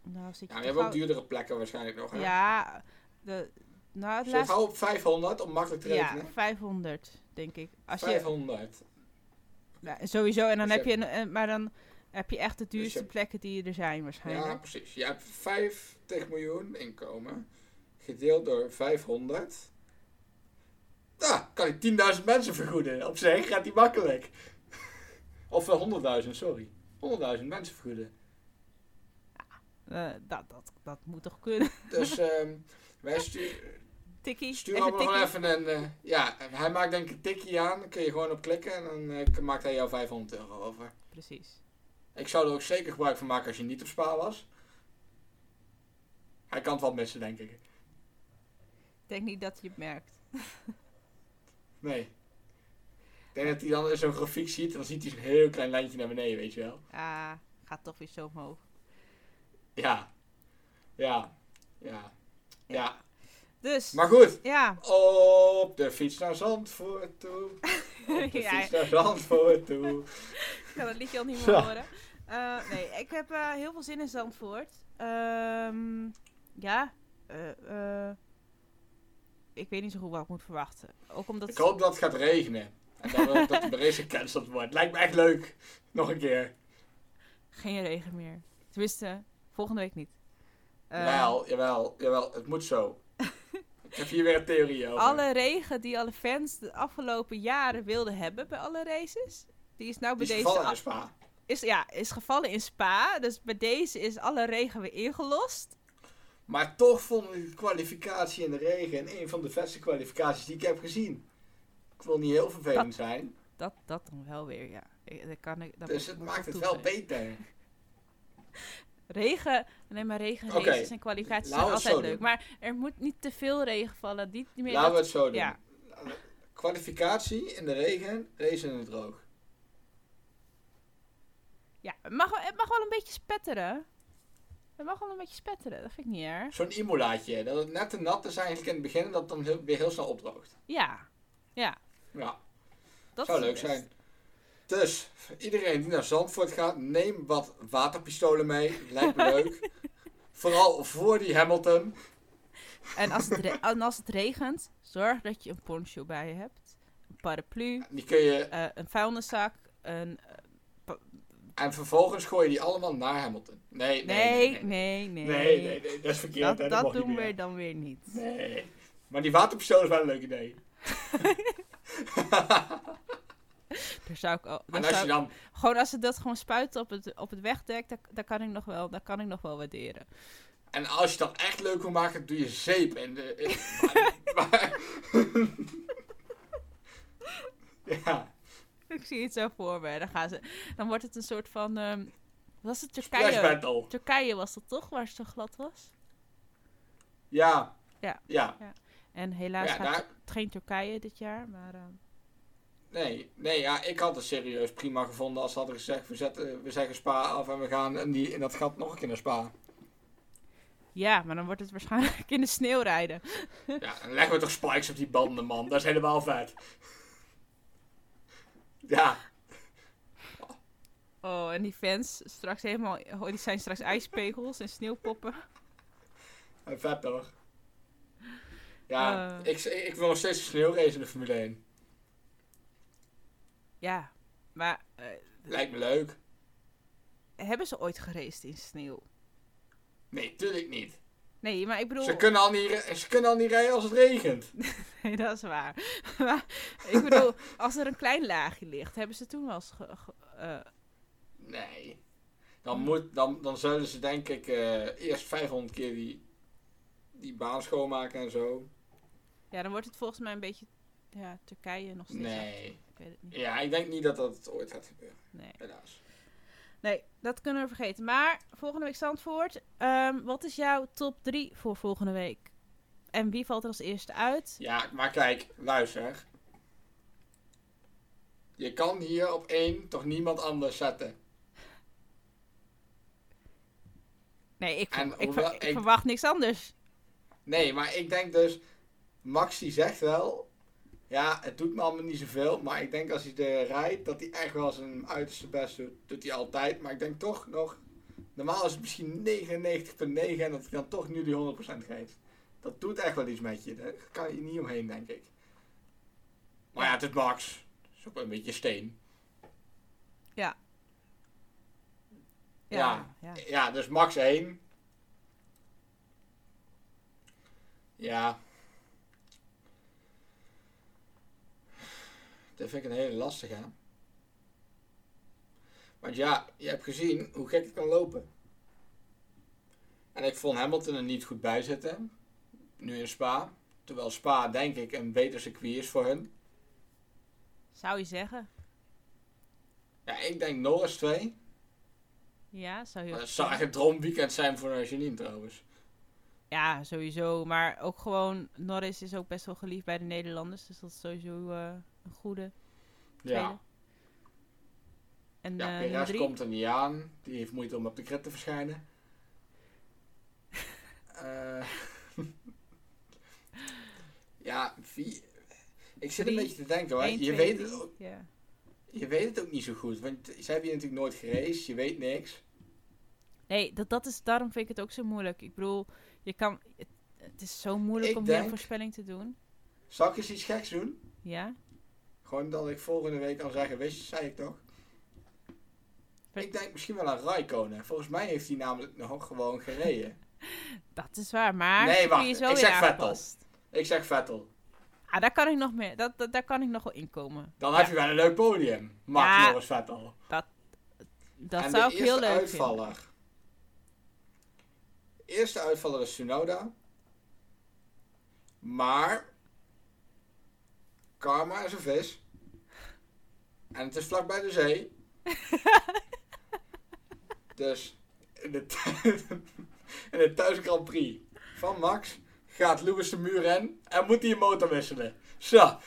Speaker 2: nou, zit
Speaker 1: Ja, we
Speaker 2: je toch
Speaker 1: hebben ook
Speaker 2: al-
Speaker 1: duurdere plekken waarschijnlijk nog. hè?
Speaker 2: Ja, de, nou,
Speaker 1: Zullen
Speaker 2: het
Speaker 1: we
Speaker 2: laatste...
Speaker 1: gauw op 500 om makkelijk te
Speaker 2: Ja,
Speaker 1: rekenen?
Speaker 2: 500, denk ik. Als je,
Speaker 1: 500.
Speaker 2: nou, sowieso, en dan
Speaker 1: Dus
Speaker 2: heb je, een, eh, maar dan heb je echt de
Speaker 1: je
Speaker 2: duurste
Speaker 1: hebt-
Speaker 2: plekken die er zijn
Speaker 1: Ja,
Speaker 2: waarschijnlijk.
Speaker 1: precies. Je hebt 50 miljoen inkomen. Gedeeld door 500. Nou, kan ik 10.000 mensen vergoeden. Op zich gaat die makkelijk. Of wel 100.000, sorry. 100.000 mensen vergoeden.
Speaker 2: Eh, dat, dat, dat moet toch kunnen.
Speaker 1: Dus ehm, wij stu-
Speaker 2: tikkie,
Speaker 1: sturen
Speaker 2: even
Speaker 1: allemaal
Speaker 2: tikkie.
Speaker 1: gewoon even een... eh, ja, hij maakt denk ik een tikkie aan. Dan kun je gewoon op klikken en dan eh, maakt hij jou 500 euro over.
Speaker 2: Precies.
Speaker 1: Ik zou er ook zeker gebruik van maken als je niet op spa was. Hij kan het wel missen, denk ik.
Speaker 2: Ik denk niet dat je het merkt.
Speaker 1: Nee. Ik denk dat hij dan zo'n grafiek ziet en dan ziet hij zo'n heel klein lijntje naar beneden, weet je wel.
Speaker 2: Ah, gaat toch weer zo omhoog.
Speaker 1: Ja. Ja. Ja. Ja.
Speaker 2: Dus,
Speaker 1: Maar goed.
Speaker 2: ja.
Speaker 1: Op de fiets naar Zandvoort toe. Op de
Speaker 2: ja,
Speaker 1: fiets
Speaker 2: ik
Speaker 1: naar Zandvoort toe.
Speaker 2: kan het liedje al niet
Speaker 1: Zo.
Speaker 2: meer horen. Eh, nee, ik heb eh, heel veel zin in Zandvoort. Ehm, ja, eh, eh, ik weet niet zo goed wat ik moet verwachten. Ook omdat...
Speaker 1: Ik hoop dat het gaat regenen. En dan wil ik dat de race gecanceld wordt. Lijkt me echt leuk. Nog een keer.
Speaker 2: Geen regen meer. Tenminste, volgende week niet. Eh,
Speaker 1: Jawel, jawel, jawel. Het moet zo. Ik heb hier weer een theorie over.
Speaker 2: alle regen die alle fans de afgelopen jaren wilden hebben bij alle races, die is nou
Speaker 1: Die
Speaker 2: bij
Speaker 1: is
Speaker 2: deze
Speaker 1: gevallen in
Speaker 2: af-
Speaker 1: Spa.
Speaker 2: is, ja, is gevallen in Spa. Dus bij deze is alle regen weer ingelost.
Speaker 1: Maar toch vond ik de kwalificatie in de regen een van de beste kwalificaties die ik heb gezien. Ik wil niet heel vervelend zijn,
Speaker 2: Dat, dat dan wel weer, ja. Ik- Dat kan ik, dat
Speaker 1: dus
Speaker 2: moet-
Speaker 1: het
Speaker 2: moet ik
Speaker 1: maakt het wel
Speaker 2: toegeven.
Speaker 1: beter.
Speaker 2: Regen, nee maar regen,
Speaker 1: Oké,
Speaker 2: races en kwalificaties zijn
Speaker 1: laten we het
Speaker 2: altijd
Speaker 1: zo
Speaker 2: leuk.
Speaker 1: doen.
Speaker 2: Maar er moet niet te veel regen vallen. Niet meer
Speaker 1: Laten we
Speaker 2: dat-
Speaker 1: het zo doen.
Speaker 2: ja.
Speaker 1: Kwalificatie in de regen, race in het droog.
Speaker 2: ja, het, mag, wel- het mag wel een beetje spetteren. Het mag wel een beetje spetteren, dat vind ik niet erg.
Speaker 1: Zo'n imolaatje, dat het net te nat is eigenlijk in het begin en dat het dan heel- weer heel snel opdroogt.
Speaker 2: Ja, ja.
Speaker 1: Ja,
Speaker 2: Dat
Speaker 1: zou
Speaker 2: is
Speaker 1: leuk
Speaker 2: best.
Speaker 1: zijn. Dus, voor iedereen die naar Zandvoort gaat, neem wat waterpistolen mee. Lijkt me leuk. Vooral voor die Hamilton.
Speaker 2: En als, het re- en als het regent, zorg dat je een poncho bij je hebt. Een paraplu,
Speaker 1: Die kun je,
Speaker 2: eh, een vuilniszak, een...
Speaker 1: en vervolgens gooi je die allemaal naar Hamilton. Nee, nee,
Speaker 2: Nee, nee, nee.
Speaker 1: Nee, nee, nee, dat is verkeerd.
Speaker 2: Dat,
Speaker 1: hè,
Speaker 2: dat
Speaker 1: mag niet
Speaker 2: doen
Speaker 1: meer.
Speaker 2: we dan weer niet.
Speaker 1: Nee. Maar die waterpistool is wel een leuk idee.
Speaker 2: Daar zou ik al, daar
Speaker 1: en als
Speaker 2: zou-
Speaker 1: je dan,
Speaker 2: Gewoon als ze dat gewoon spuiten op het, op het wegdek, dat, dat, kan ik nog wel, dat kan ik nog wel waarderen.
Speaker 1: en als je dat echt leuk wil maken, doe je zeep in de... in- maar, maar- ja,
Speaker 2: Ik zie het zo voor me. Dan, gaan ze, dan wordt het een soort van... ehm, was het
Speaker 1: flash
Speaker 2: Turkije?
Speaker 1: battle.
Speaker 2: Turkije was dat toch, waar het zo glad was?
Speaker 1: Ja.
Speaker 2: Ja.
Speaker 1: Ja.
Speaker 2: En helaas
Speaker 1: Ja,
Speaker 2: gaat
Speaker 1: daar-
Speaker 2: het geen Turkije dit jaar, maar... ehm,
Speaker 1: Nee, nee ja, ik had het serieus prima gevonden als ze hadden gezegd, we, zetten, we zeggen spa af en we gaan in, die, in dat gat nog een keer naar spa.
Speaker 2: ja, maar dan wordt het waarschijnlijk in de sneeuw rijden.
Speaker 1: Ja, dan leggen we toch spikes op die banden, man. Dat is helemaal vet. Ja,
Speaker 2: Oh, en die fans straks helemaal... Oh, die zijn straks ijspegels en sneeuwpoppen.
Speaker 1: vet toch? Ja,
Speaker 2: Eh.
Speaker 1: ik, ik wil nog steeds een sneeuwrace in de Formule 1.
Speaker 2: Ja, maar eh,
Speaker 1: Lijkt me leuk.
Speaker 2: hebben ze ooit geraced in sneeuw?
Speaker 1: Nee, tuurlijk niet.
Speaker 2: Nee, maar ik bedoel...
Speaker 1: Ze kunnen al niet, re- ze kunnen al niet rijden als het regent.
Speaker 2: Nee, dat is waar. maar ik bedoel, als er een klein laagje ligt, hebben ze toen wel eens... ge- ge- eh,
Speaker 1: Nee. Dan,
Speaker 2: Hm.
Speaker 1: moet, dan, dan zullen ze denk ik eh, eerst 500 keer die, die baan schoonmaken en zo.
Speaker 2: ja, dan wordt het volgens mij een beetje... Ja, Turkije nog steeds.
Speaker 1: Nee.
Speaker 2: Ik weet het niet.
Speaker 1: Ja, ik denk niet dat dat ooit gaat gebeuren.
Speaker 2: Nee.
Speaker 1: Helaas.
Speaker 2: nee, dat kunnen we vergeten. Maar volgende week Zandvoort. Ehm, wat is jouw top 3 voor volgende week? En wie valt er als eerste uit?
Speaker 1: Ja, maar kijk, luister. Je kan hier op één toch niemand anders zetten.
Speaker 2: Nee, ik, ver-
Speaker 1: En
Speaker 2: ik, ver-
Speaker 1: hoewel
Speaker 2: ik
Speaker 1: ik-
Speaker 2: verwacht niks anders.
Speaker 1: Nee, maar ik denk dus... Max die zegt wel... Ja, het doet me allemaal niet zoveel. Maar ik denk als hij er rijdt, dat hij echt wel zijn uiterste best doet. Doet hij altijd. Maar ik denk toch nog... Normaal is het misschien 99,9 en dat hij dan toch nu die 100% geeft. Dat doet echt wel iets met je. Daar kan je niet omheen, denk ik. Maar ja, het is Max. Dat is ook wel een beetje steen. Ja.
Speaker 2: ja.
Speaker 1: Ja, dus max 1. Ja. Dat vind ik een hele lastige. hè. Want ja, je hebt gezien hoe gek het kan lopen. En ik vond Hamilton er niet goed bij zitten. Nu in Spa. Terwijl Spa, denk ik, een beter circuit is voor hun.
Speaker 2: Zou je zeggen?
Speaker 1: Ja, ik denk Norris 2.
Speaker 2: Ja, zou
Speaker 1: Maar
Speaker 2: je...
Speaker 1: dat Eh, zou echt een droomweekend zijn voor Janine trouwens.
Speaker 2: Ja, sowieso. Maar ook gewoon... Norris is ook best wel geliefd bij de Nederlanders. Dus dat is sowieso eh, een goede...
Speaker 1: Ja.
Speaker 2: Tweede. En
Speaker 1: Ja,
Speaker 2: eh,
Speaker 1: Perez
Speaker 2: nummer drie.
Speaker 1: komt er niet aan. Die heeft moeite om op de grid te verschijnen. Eh, ja, wie... Ik zit
Speaker 2: Drie,
Speaker 1: een beetje te denken, hoor.
Speaker 2: Eén,
Speaker 1: Je
Speaker 2: twee,
Speaker 1: weet, het
Speaker 2: drie.
Speaker 1: ook,
Speaker 2: Ja.
Speaker 1: je weet het ook niet zo goed. Want zij hebben hier natuurlijk nooit geraced. Je weet niks.
Speaker 2: Nee, dat, dat is, daarom vind ik het ook zo moeilijk. Ik bedoel, je kan, het, het is zo moeilijk
Speaker 1: Ik
Speaker 2: om hier
Speaker 1: denk-
Speaker 2: een voorspelling te doen.
Speaker 1: Zal ik eens iets geks doen?
Speaker 2: Ja?
Speaker 1: Gewoon dat ik volgende week kan zeggen, wist je, zei ik toch?
Speaker 2: Wat-
Speaker 1: Ik denk misschien wel aan Raikkonen. Volgens mij heeft hij namelijk nog gewoon gereden.
Speaker 2: Dat is waar, maar
Speaker 1: Nee,
Speaker 2: nee,
Speaker 1: wacht,
Speaker 2: is wel
Speaker 1: ik
Speaker 2: weer
Speaker 1: zeg Vettel.
Speaker 2: aangepast.
Speaker 1: ik zeg Vettel.
Speaker 2: Ah, daar kan ik nog meer, dat, dat, daar kan ik nog wel inkomen.
Speaker 1: Dan heb je wel een leuk podium. Max
Speaker 2: Ja.
Speaker 1: Norris Vettel.
Speaker 2: Dat
Speaker 1: en
Speaker 2: zou
Speaker 1: de
Speaker 2: ik
Speaker 1: eerste
Speaker 2: heel leuk vinden.
Speaker 1: uitvaller. Eerste uitvaller is Tsunoda. Maar Karma is een vis. En het is vlak bij de zee. dus in de, thu- in de thuis Grand Prix van Max gaat Lewis de muur in en moet hij een motor wisselen. Zo,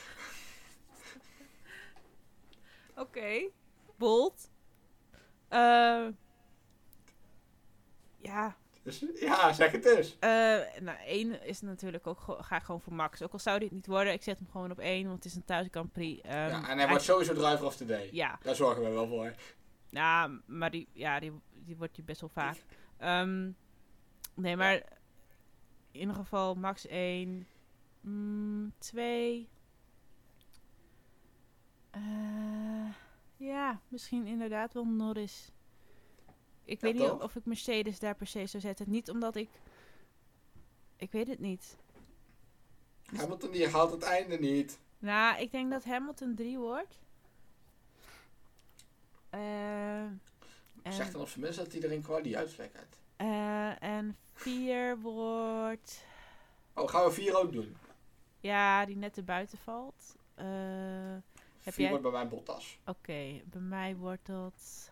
Speaker 2: Oké, bold. Eh, ja,
Speaker 1: dus, ja, zeg het eens.
Speaker 2: eh, nou één is natuurlijk ook, gewoon- ga ik gewoon voor Max. Ook al zou dit niet worden, ik zet hem gewoon op één, want het is een thuis Grand Prix. Ehm,
Speaker 1: ja, en hij wordt sowieso driver of the day.
Speaker 2: Ja,
Speaker 1: Daar zorgen we wel voor.
Speaker 2: Ja, maar die, ja, die, die wordt je best wel vaak. Ehm, nee, maar in ieder geval max mm, 1, 2. Eh, ja, misschien inderdaad wel Norris. Ik
Speaker 1: Ja,
Speaker 2: weet niet
Speaker 1: toch?
Speaker 2: of ik Mercedes daar per se zou zetten. Niet omdat ik. Ik weet het niet.
Speaker 1: Hamilton die haalt het einde niet.
Speaker 2: Nou, ik denk dat Hamilton 3 wordt. Eh, en-
Speaker 1: Zeg dan op zijn minst dat hij er in kwaliteit uitvlek uit.
Speaker 2: Eh, en 4 wordt.
Speaker 1: Oh, gaan we vier ook doen?
Speaker 2: Ja, die net erbuiten valt. Eh,
Speaker 1: Vier
Speaker 2: jij- Oh.
Speaker 1: wordt bij mijn Bottas.
Speaker 2: Oké, bij mij wordt dat.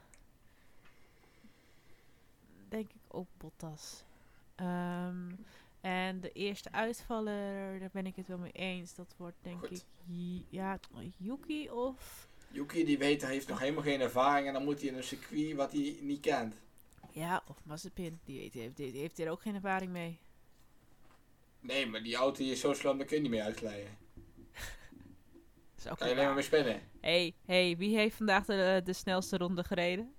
Speaker 2: Denk ik ook Bottas. Ehm, en de eerste uitvaller, daar ben ik het wel mee eens. Dat wordt denk
Speaker 1: Goed.
Speaker 2: ik. Yi- Ja, Yuki of.
Speaker 1: Yuki die weet, hij heeft nog helemaal geen ervaring en dan moet hij in een circuit wat hij niet kent.
Speaker 2: Ja, of Mazepin. Die weet- die heeft, die heeft er ook geen ervaring mee.
Speaker 1: Nee, maar die auto die is zo slam, daar kun je niet mee uitglijden.
Speaker 2: Dat is ook
Speaker 1: Kan je
Speaker 2: niet
Speaker 1: alleen maar
Speaker 2: waar.
Speaker 1: mee spinnen?
Speaker 2: hey, hey, wie heeft vandaag de, de snelste ronde gereden?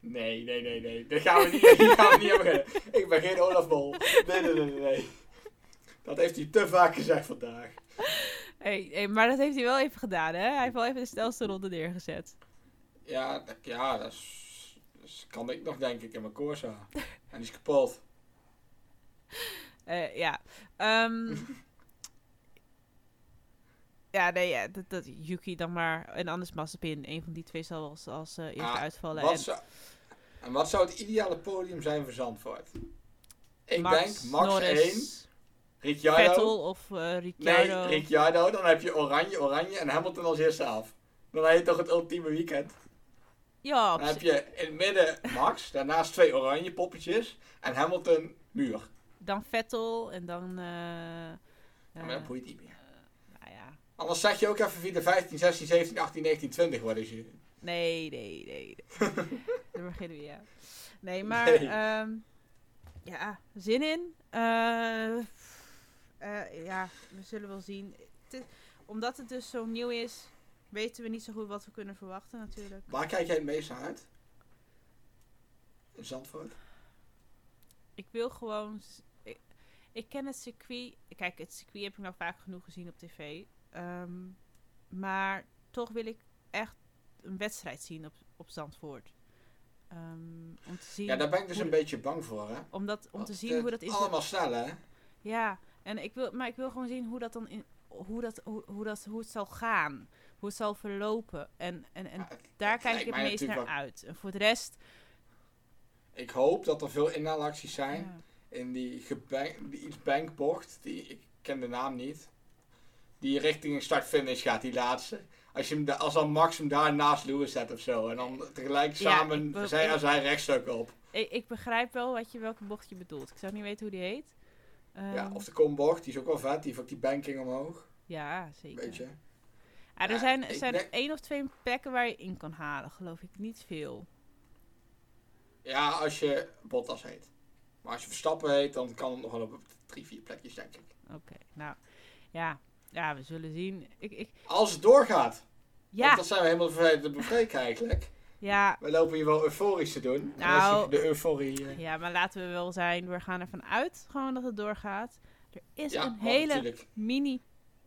Speaker 1: Nee, nee, nee, nee. Dat gaan we niet, dat gaan we niet aan beginnen. Ik ben geen Olaf Mol. Nee, nee, nee, nee, nee. Dat heeft hij te vaak gezegd vandaag.
Speaker 2: Hey, hey, maar dat heeft hij wel even gedaan, hè? Hij heeft wel even de snelste ronde neergezet.
Speaker 1: Ja, dat- ja dat, is- dat kan ik nog denk ik in mijn Corsa. En die is kapot.
Speaker 2: Eh, ja. Ehm, ja, nee, ja, dat, dat Yuki dan maar. En anders Mazepin. Een van die twee zal als, als eh, eerste
Speaker 1: Ah,
Speaker 2: uitvallen.
Speaker 1: Wat
Speaker 2: en
Speaker 1: zou- en wat zou het ideale podium zijn voor Zandvoort? Ik denk Max 1, Ricciardo.
Speaker 2: Vettel of eh Ricciardo.
Speaker 1: Nee, Ricciardo. Dan heb je Oranje, Oranje en Hamilton als eerste af. Dan heb je toch het ultieme weekend.
Speaker 2: ja,
Speaker 1: Dan heb
Speaker 2: precies.
Speaker 1: je in het midden Max, daarnaast twee oranje poppetjes en Hamilton muur.
Speaker 2: dan Vettel en dan. eh,
Speaker 1: Ja, maar
Speaker 2: eh,
Speaker 1: dat boeit niet meer.
Speaker 2: nou ja.
Speaker 1: Anders zeg je ook even wie de 15, 16, 17, 18, 19, 20 worden ze.
Speaker 2: Nee, nee, nee. nee. Daar beginnen we, ja. Nee, maar...
Speaker 1: Nee.
Speaker 2: ehm, ja, zin in. Eh, eh, ja, we zullen wel zien. Het is- omdat het dus zo nieuw is, weten we niet zo goed wat we kunnen verwachten natuurlijk.
Speaker 1: Waar kijk jij het meest naar uit? In Zandvoort?
Speaker 2: Ik wil gewoon... z- Ik, ik ken het circuit... Kijk, het circuit heb ik nou vaak genoeg gezien op tv. Ehm, maar toch wil ik echt een wedstrijd zien op, op Zandvoort. Ehm, om te zien...
Speaker 1: Ja, daar ben ik dus
Speaker 2: hoe
Speaker 1: een
Speaker 2: de-
Speaker 1: beetje bang voor, hè?
Speaker 2: om, dat, om
Speaker 1: Want
Speaker 2: te
Speaker 1: het
Speaker 2: zien hoe dat is.
Speaker 1: Allemaal snel, hè?
Speaker 2: Ja, en ik wil, maar ik wil gewoon zien hoe dat dan in, hoe, dat, hoe, hoe, dat, hoe het zal gaan. Hoe het zal verlopen. En, en, en
Speaker 1: Ja, het-
Speaker 2: daar
Speaker 1: het
Speaker 2: kijk
Speaker 1: lijkt
Speaker 2: ik het
Speaker 1: mij
Speaker 2: meest naar
Speaker 1: natuurlijk
Speaker 2: uit. En voor de rest.
Speaker 1: Ik hoop dat er veel inhaalacties zijn
Speaker 2: ja.
Speaker 1: in die, gebank, die iets bankbocht. Die, ik ken de naam niet. Die richting een start-finish gaat, die laatste. Als, je hem da- als dan Max hem daar naast Lewis zet of zo. En dan tegelijk
Speaker 2: Ja,
Speaker 1: samen
Speaker 2: ik wil-
Speaker 1: zij
Speaker 2: ik-
Speaker 1: aan zij rechtstuk op.
Speaker 2: ik, ik begrijp wel wat je, welke bocht je bedoelt. Ik zou niet weten hoe die heet. Ehm,
Speaker 1: ja, of de kombocht, die is ook wel vet. Die heeft ook die banking omhoog.
Speaker 2: ja, zeker.
Speaker 1: Weet je.
Speaker 2: Ah, er
Speaker 1: Ja,
Speaker 2: zijn,
Speaker 1: ik
Speaker 2: er zijn
Speaker 1: denk-
Speaker 2: één of twee plekken waar je in kan halen, geloof ik. Niet veel.
Speaker 1: Ja, als je Bottas heet. Maar als je Verstappen heet, dan kan het nog wel op drie, vier plekjes, denk ik.
Speaker 2: Oké, nou ja. ja, we zullen zien. Ik, ik,
Speaker 1: Als het doorgaat. Want
Speaker 2: ja,
Speaker 1: dat zijn we helemaal vergeten te bespreken eigenlijk.
Speaker 2: ja,
Speaker 1: We lopen hier wel euforisch te doen. En
Speaker 2: Nou.
Speaker 1: als je de euforie... eh,
Speaker 2: ja, maar laten we wel zijn. We gaan ervan uit gewoon dat het doorgaat. Er is
Speaker 1: ja,
Speaker 2: een
Speaker 1: maar
Speaker 2: hele
Speaker 1: natuurlijk.
Speaker 2: mini,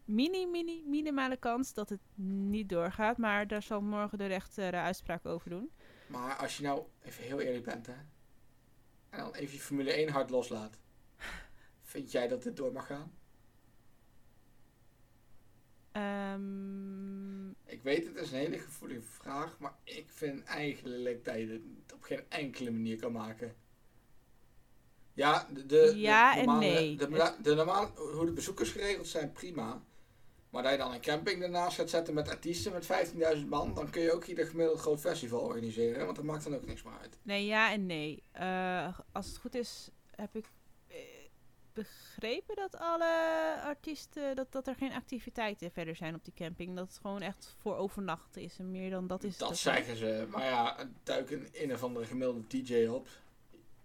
Speaker 2: mini, mini, minimale kans dat het niet doorgaat. Maar daar zal morgen de rechter eh, uitspraak over doen.
Speaker 1: Maar als je nou even heel eerlijk bent, hè. En dan even je Formule 1 hard loslaat. Vind jij dat dit door mag gaan?
Speaker 2: Ehm,
Speaker 1: Ik weet, het is een hele gevoelige vraag. Maar ik vind eigenlijk dat je het op geen enkele manier kan maken. Ja, de, de,
Speaker 2: Ja
Speaker 1: de
Speaker 2: en
Speaker 1: normale,
Speaker 2: nee.
Speaker 1: De, de, normale, hoe de bezoekers geregeld zijn, prima. Maar dat je dan een camping ernaast gaat zetten met artiesten met 15.000 man, dan kun je ook ieder gemiddeld groot festival organiseren. Want dat maakt dan ook niks meer uit.
Speaker 2: nee, ja en nee. Eh, als het goed is, heb ik eh, begrepen dat alle artiesten, dat, dat er geen activiteiten verder zijn op die camping. Dat het gewoon echt voor overnachten is. En meer dan Dus dat is het
Speaker 1: Dat
Speaker 2: ook
Speaker 1: zeggen ze. Maar ja, duik een een of andere gemiddelde DJ op.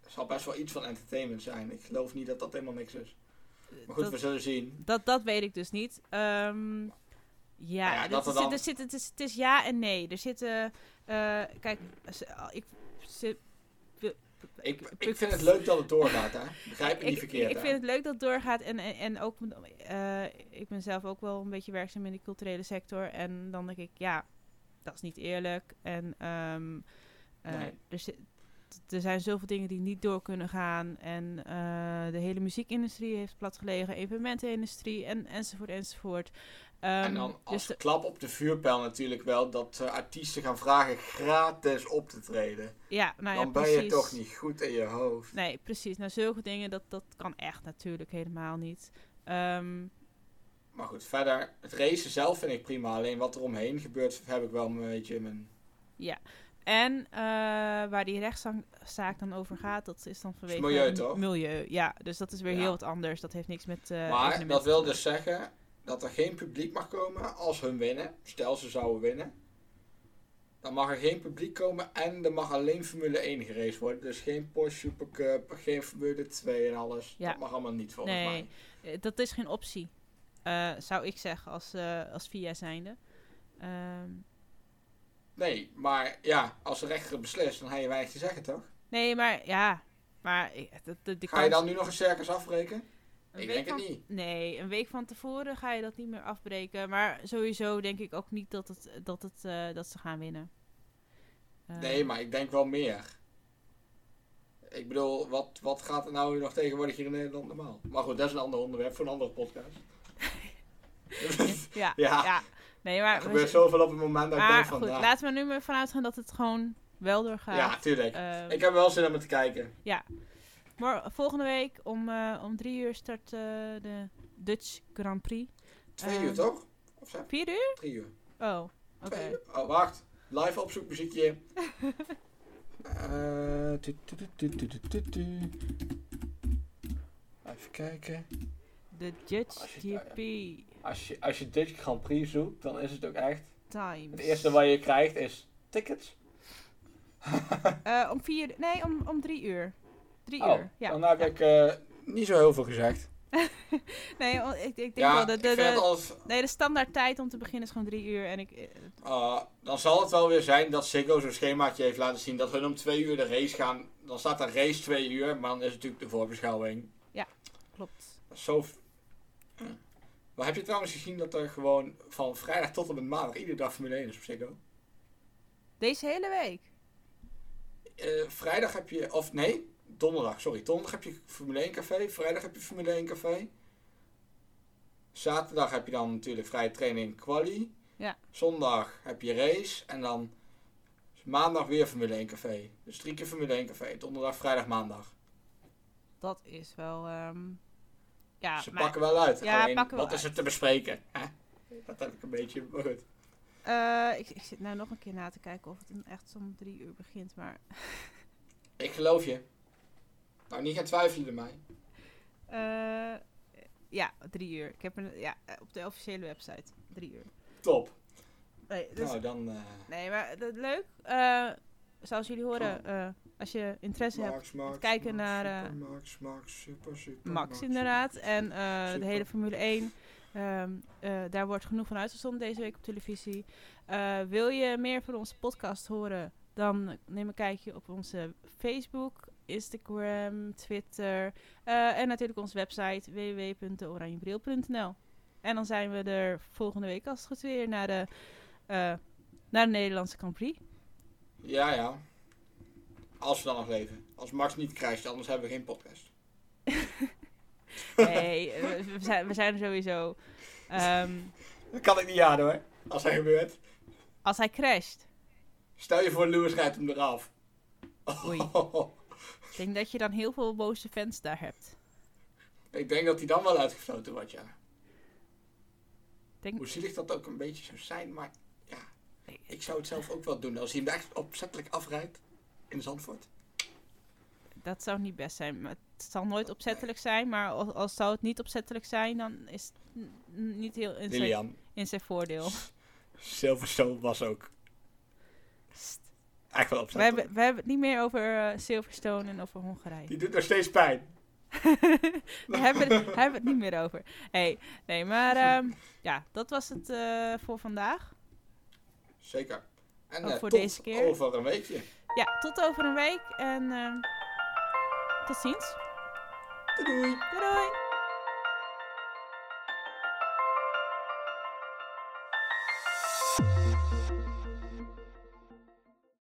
Speaker 1: Zal best wel iets van entertainment zijn. Ik geloof niet dat dat helemaal niks is.
Speaker 2: niet.
Speaker 1: Maar goed,
Speaker 2: Dat-
Speaker 1: we zullen zien.
Speaker 2: Dat, dat weet ik dus niet. Ehm, ja,
Speaker 1: Nou ja,
Speaker 2: dit-
Speaker 1: dat
Speaker 2: er
Speaker 1: er
Speaker 2: zit,
Speaker 1: dan-
Speaker 2: er zit, het, is, het is ja en nee. Er zitten. eh, kijk, ze- al- ik. ze-
Speaker 1: Ik, ik vind het leuk dat het doorgaat, hè. Begrijp me
Speaker 2: ik,
Speaker 1: niet verkeerd,
Speaker 2: ik
Speaker 1: hè?
Speaker 2: vind het leuk dat het doorgaat. En, en, en ook, eh, ik ben zelf ook wel een beetje werkzaam in de culturele sector. En dan denk ik, ja, dat is niet eerlijk. En ehm, eh,
Speaker 1: Nee.
Speaker 2: er, zit- er zijn zoveel dingen die niet door kunnen gaan. En eh, de hele muziekindustrie heeft platgelegen. Evenementenindustrie en, enzovoort enzovoort. Ehm,
Speaker 1: en dan als
Speaker 2: dus de-
Speaker 1: klap op de vuurpijl natuurlijk wel dat eh, artiesten gaan vragen gratis op te treden.
Speaker 2: ja, nou ja,
Speaker 1: dan ben je
Speaker 2: precies.
Speaker 1: toch niet goed in je hoofd.
Speaker 2: Nee, precies. Nou, zulke dingen, dat, dat kan echt natuurlijk helemaal niet. Ehm,
Speaker 1: Maar goed, verder, het racen zelf vind ik prima. Alleen wat er omheen gebeurt, heb ik wel een beetje mijn...
Speaker 2: En eh, waar die rechtszaak dan over gaat, dat is dan vanwege
Speaker 1: milieu,
Speaker 2: het
Speaker 1: toch?
Speaker 2: milieu. Ja, dus dat is weer
Speaker 1: Ja.
Speaker 2: heel wat anders. Dat heeft niks met. eh,
Speaker 1: Maar
Speaker 2: evenementen
Speaker 1: dat
Speaker 2: te
Speaker 1: wil
Speaker 2: maken.
Speaker 1: dus zeggen dat er geen publiek mag komen als hun winnen. Stel ze zouden winnen. Dan mag er geen publiek komen en er mag alleen Formule 1 geraced worden. Dus geen Porsche Supercup, geen Formule 2 en alles.
Speaker 2: Ja.
Speaker 1: Dat mag allemaal niet volgens
Speaker 2: Nee.
Speaker 1: mij.
Speaker 2: Eh, Dat is geen optie, eh, zou ik zeggen, als, eh als VIA zijnde. Ehm,
Speaker 1: Nee, maar ja, als de rechter beslist, dan heb je weinig te zeggen toch?
Speaker 2: nee, maar ja. Maar ik- de, de, de
Speaker 1: Ga je
Speaker 2: kans-
Speaker 1: dan nu nog een circus afbreken?
Speaker 2: een
Speaker 1: ik
Speaker 2: week
Speaker 1: denk het
Speaker 2: van-
Speaker 1: niet.
Speaker 2: Nee, een week van tevoren ga je dat niet meer afbreken. Maar sowieso denk ik ook niet dat, het, dat, het, eh, dat ze gaan winnen. Eh,
Speaker 1: Nee, maar ik denk wel meer. Ik bedoel, wat, wat gaat er nou nog tegenwoordig hier in Nederland normaal? Maar goed, dat is een ander onderwerp voor een andere podcast.
Speaker 2: Ja, ja.
Speaker 1: Ja.
Speaker 2: Nee,
Speaker 1: er
Speaker 2: maar,
Speaker 1: gebeurt zoveel op het moment dat ik
Speaker 2: maar
Speaker 1: denk
Speaker 2: goed,
Speaker 1: van... nou,
Speaker 2: laten we er nu maar vanuit gaan dat het gewoon wel doorgaat.
Speaker 1: ja, tuurlijk.
Speaker 2: Ehm,
Speaker 1: ik heb wel zin om het te kijken.
Speaker 2: mor- volgende week om, eh, om drie uur start eh, de Dutch Grand Prix.
Speaker 1: Twee
Speaker 2: ehm,
Speaker 1: uur toch? Of zijn
Speaker 2: Vier uur?
Speaker 1: het Eh. drie uur?
Speaker 2: Oh, oké.
Speaker 1: Twee uur? Oh, wacht. Live opzoekmuziekje. Eh, tu- tu- tu- tu- tu- tu- tu- tu. Even kijken.
Speaker 2: De Dutch
Speaker 1: Als je-
Speaker 2: GP
Speaker 1: Als je, als je Dutch Grand Prix zoekt, dan is het ook echt...
Speaker 2: Times.
Speaker 1: Het eerste wat je krijgt is tickets.
Speaker 2: Eh, om vier... Nee, om, om drie uur. Drie
Speaker 1: Oh,
Speaker 2: uur, ja.
Speaker 1: dan heb
Speaker 2: ja.
Speaker 1: ik eh, niet zo heel veel gezegd.
Speaker 2: Nee, want ik, ik denk
Speaker 1: Ja,
Speaker 2: wel... De,
Speaker 1: ik
Speaker 2: de,
Speaker 1: vind het
Speaker 2: de,
Speaker 1: als...
Speaker 2: nee, de standaard tijd om te beginnen is gewoon drie uur. En ik... eh,
Speaker 1: eh, dan zal het wel weer zijn dat Ziggo zo'n schemaatje heeft laten zien dat hun om twee uur de race gaan. Dan staat er race twee uur, maar dan is het natuurlijk de voorbeschouwing.
Speaker 2: klopt.
Speaker 1: Dat is Zo... Hm. Maar heb je trouwens gezien dat er gewoon van vrijdag tot en met maandag iedere dag Formule 1 is op Ziggo?
Speaker 2: Deze hele week?
Speaker 1: Eh, vrijdag heb je, of nee, donderdag, sorry. Donderdag heb je Formule 1 café, vrijdag heb je Formule 1 café. Zaterdag heb je dan natuurlijk vrije training quali.
Speaker 2: Ja.
Speaker 1: Zondag heb je race en dan maandag weer Formule 1 café. Dus drie keer Formule 1 café, donderdag, vrijdag, maandag.
Speaker 2: Dat is wel... ehm, ja,
Speaker 1: Ze
Speaker 2: maar,
Speaker 1: pakken wel uit.
Speaker 2: Ja,
Speaker 1: Alleen,
Speaker 2: pakken wel
Speaker 1: wat is er te bespreken? Hè? Dat heb ik een beetje, maar goed.
Speaker 2: eh, ik, ik zit nou nog een keer na te kijken of het dan echt om drie uur begint. Maar
Speaker 1: Ik geloof je. Nou, niet gaan twijfelen door mij.
Speaker 2: eh, ja, drie uur. Ik heb een, ja, eh, op de officiële website. Drie uur.
Speaker 1: Top.
Speaker 2: Nee, dus,
Speaker 1: nou, dan eh,
Speaker 2: nee maar dat leuk. Eh, zoals jullie horen, eh, als je interesse hebt,
Speaker 1: Max, Max,
Speaker 2: kijken
Speaker 1: Max,
Speaker 2: naar, eh,
Speaker 1: super, Max, Max, super, super,
Speaker 2: Max inderdaad.
Speaker 1: super,
Speaker 2: En
Speaker 1: super.
Speaker 2: eh, de
Speaker 1: Super.
Speaker 2: hele Formule 1. ehm, eh, daar wordt genoeg van uitgezonden deze week op televisie. Eh, wil je meer van onze podcast horen? Dan neem een kijkje op onze Facebook, Instagram, Twitter. eh, en natuurlijk onze website www.oranjebril.nl. En dan zijn we er volgende week als het goed weer naar de, eh, naar de Nederlandse Grand Prix.
Speaker 1: Ja, ja. Als we dan nog leven. Als Max niet crasht, anders hebben we geen podcast.
Speaker 2: Nee, eh, we, we zijn, we zijn er sowieso. Ehm,
Speaker 1: Dat kan ik niet aan hoor. Als hij gebeurt.
Speaker 2: als hij crasht.
Speaker 1: Stel je voor, Lewis rijdt hem eraf.
Speaker 2: Oei. Ik denk dat je dan heel veel boze fans daar hebt.
Speaker 1: Ik denk dat hij dan wel uitgefloten wordt, ja.
Speaker 2: Denk-
Speaker 1: Hoe zielig dat ook een beetje zou zijn, maar ja. Ik zou het zelf ook wel doen. Als hij hem echt opzettelijk afrijdt in Zandvoort.
Speaker 2: Dat zou niet best zijn. Maar het zal nooit opzettelijk zijn, maar als, als zou het niet opzettelijk zijn, dan is het n- n- niet heel in zijn,
Speaker 1: Lilian,
Speaker 2: in zijn voordeel.
Speaker 1: Silverstone was ook
Speaker 2: Sst.
Speaker 1: echt wel
Speaker 2: We
Speaker 1: opzettelijk.
Speaker 2: hebben, we hebben het niet meer over eh, Silverstone en over Hongarije.
Speaker 1: Die doet nog steeds pijn.
Speaker 2: Daar hebben, we het- daar hebben we het niet meer over. Hey, nee, maar ehm, ja, dat was het eh, voor vandaag.
Speaker 1: Zeker. En
Speaker 2: Ook
Speaker 1: eh,
Speaker 2: Oh, voor
Speaker 1: tot
Speaker 2: deze keer.
Speaker 1: over een weekje.
Speaker 2: Ja, tot over een week en ehm, tot ziens.
Speaker 1: Doei doei.
Speaker 2: Doei doei!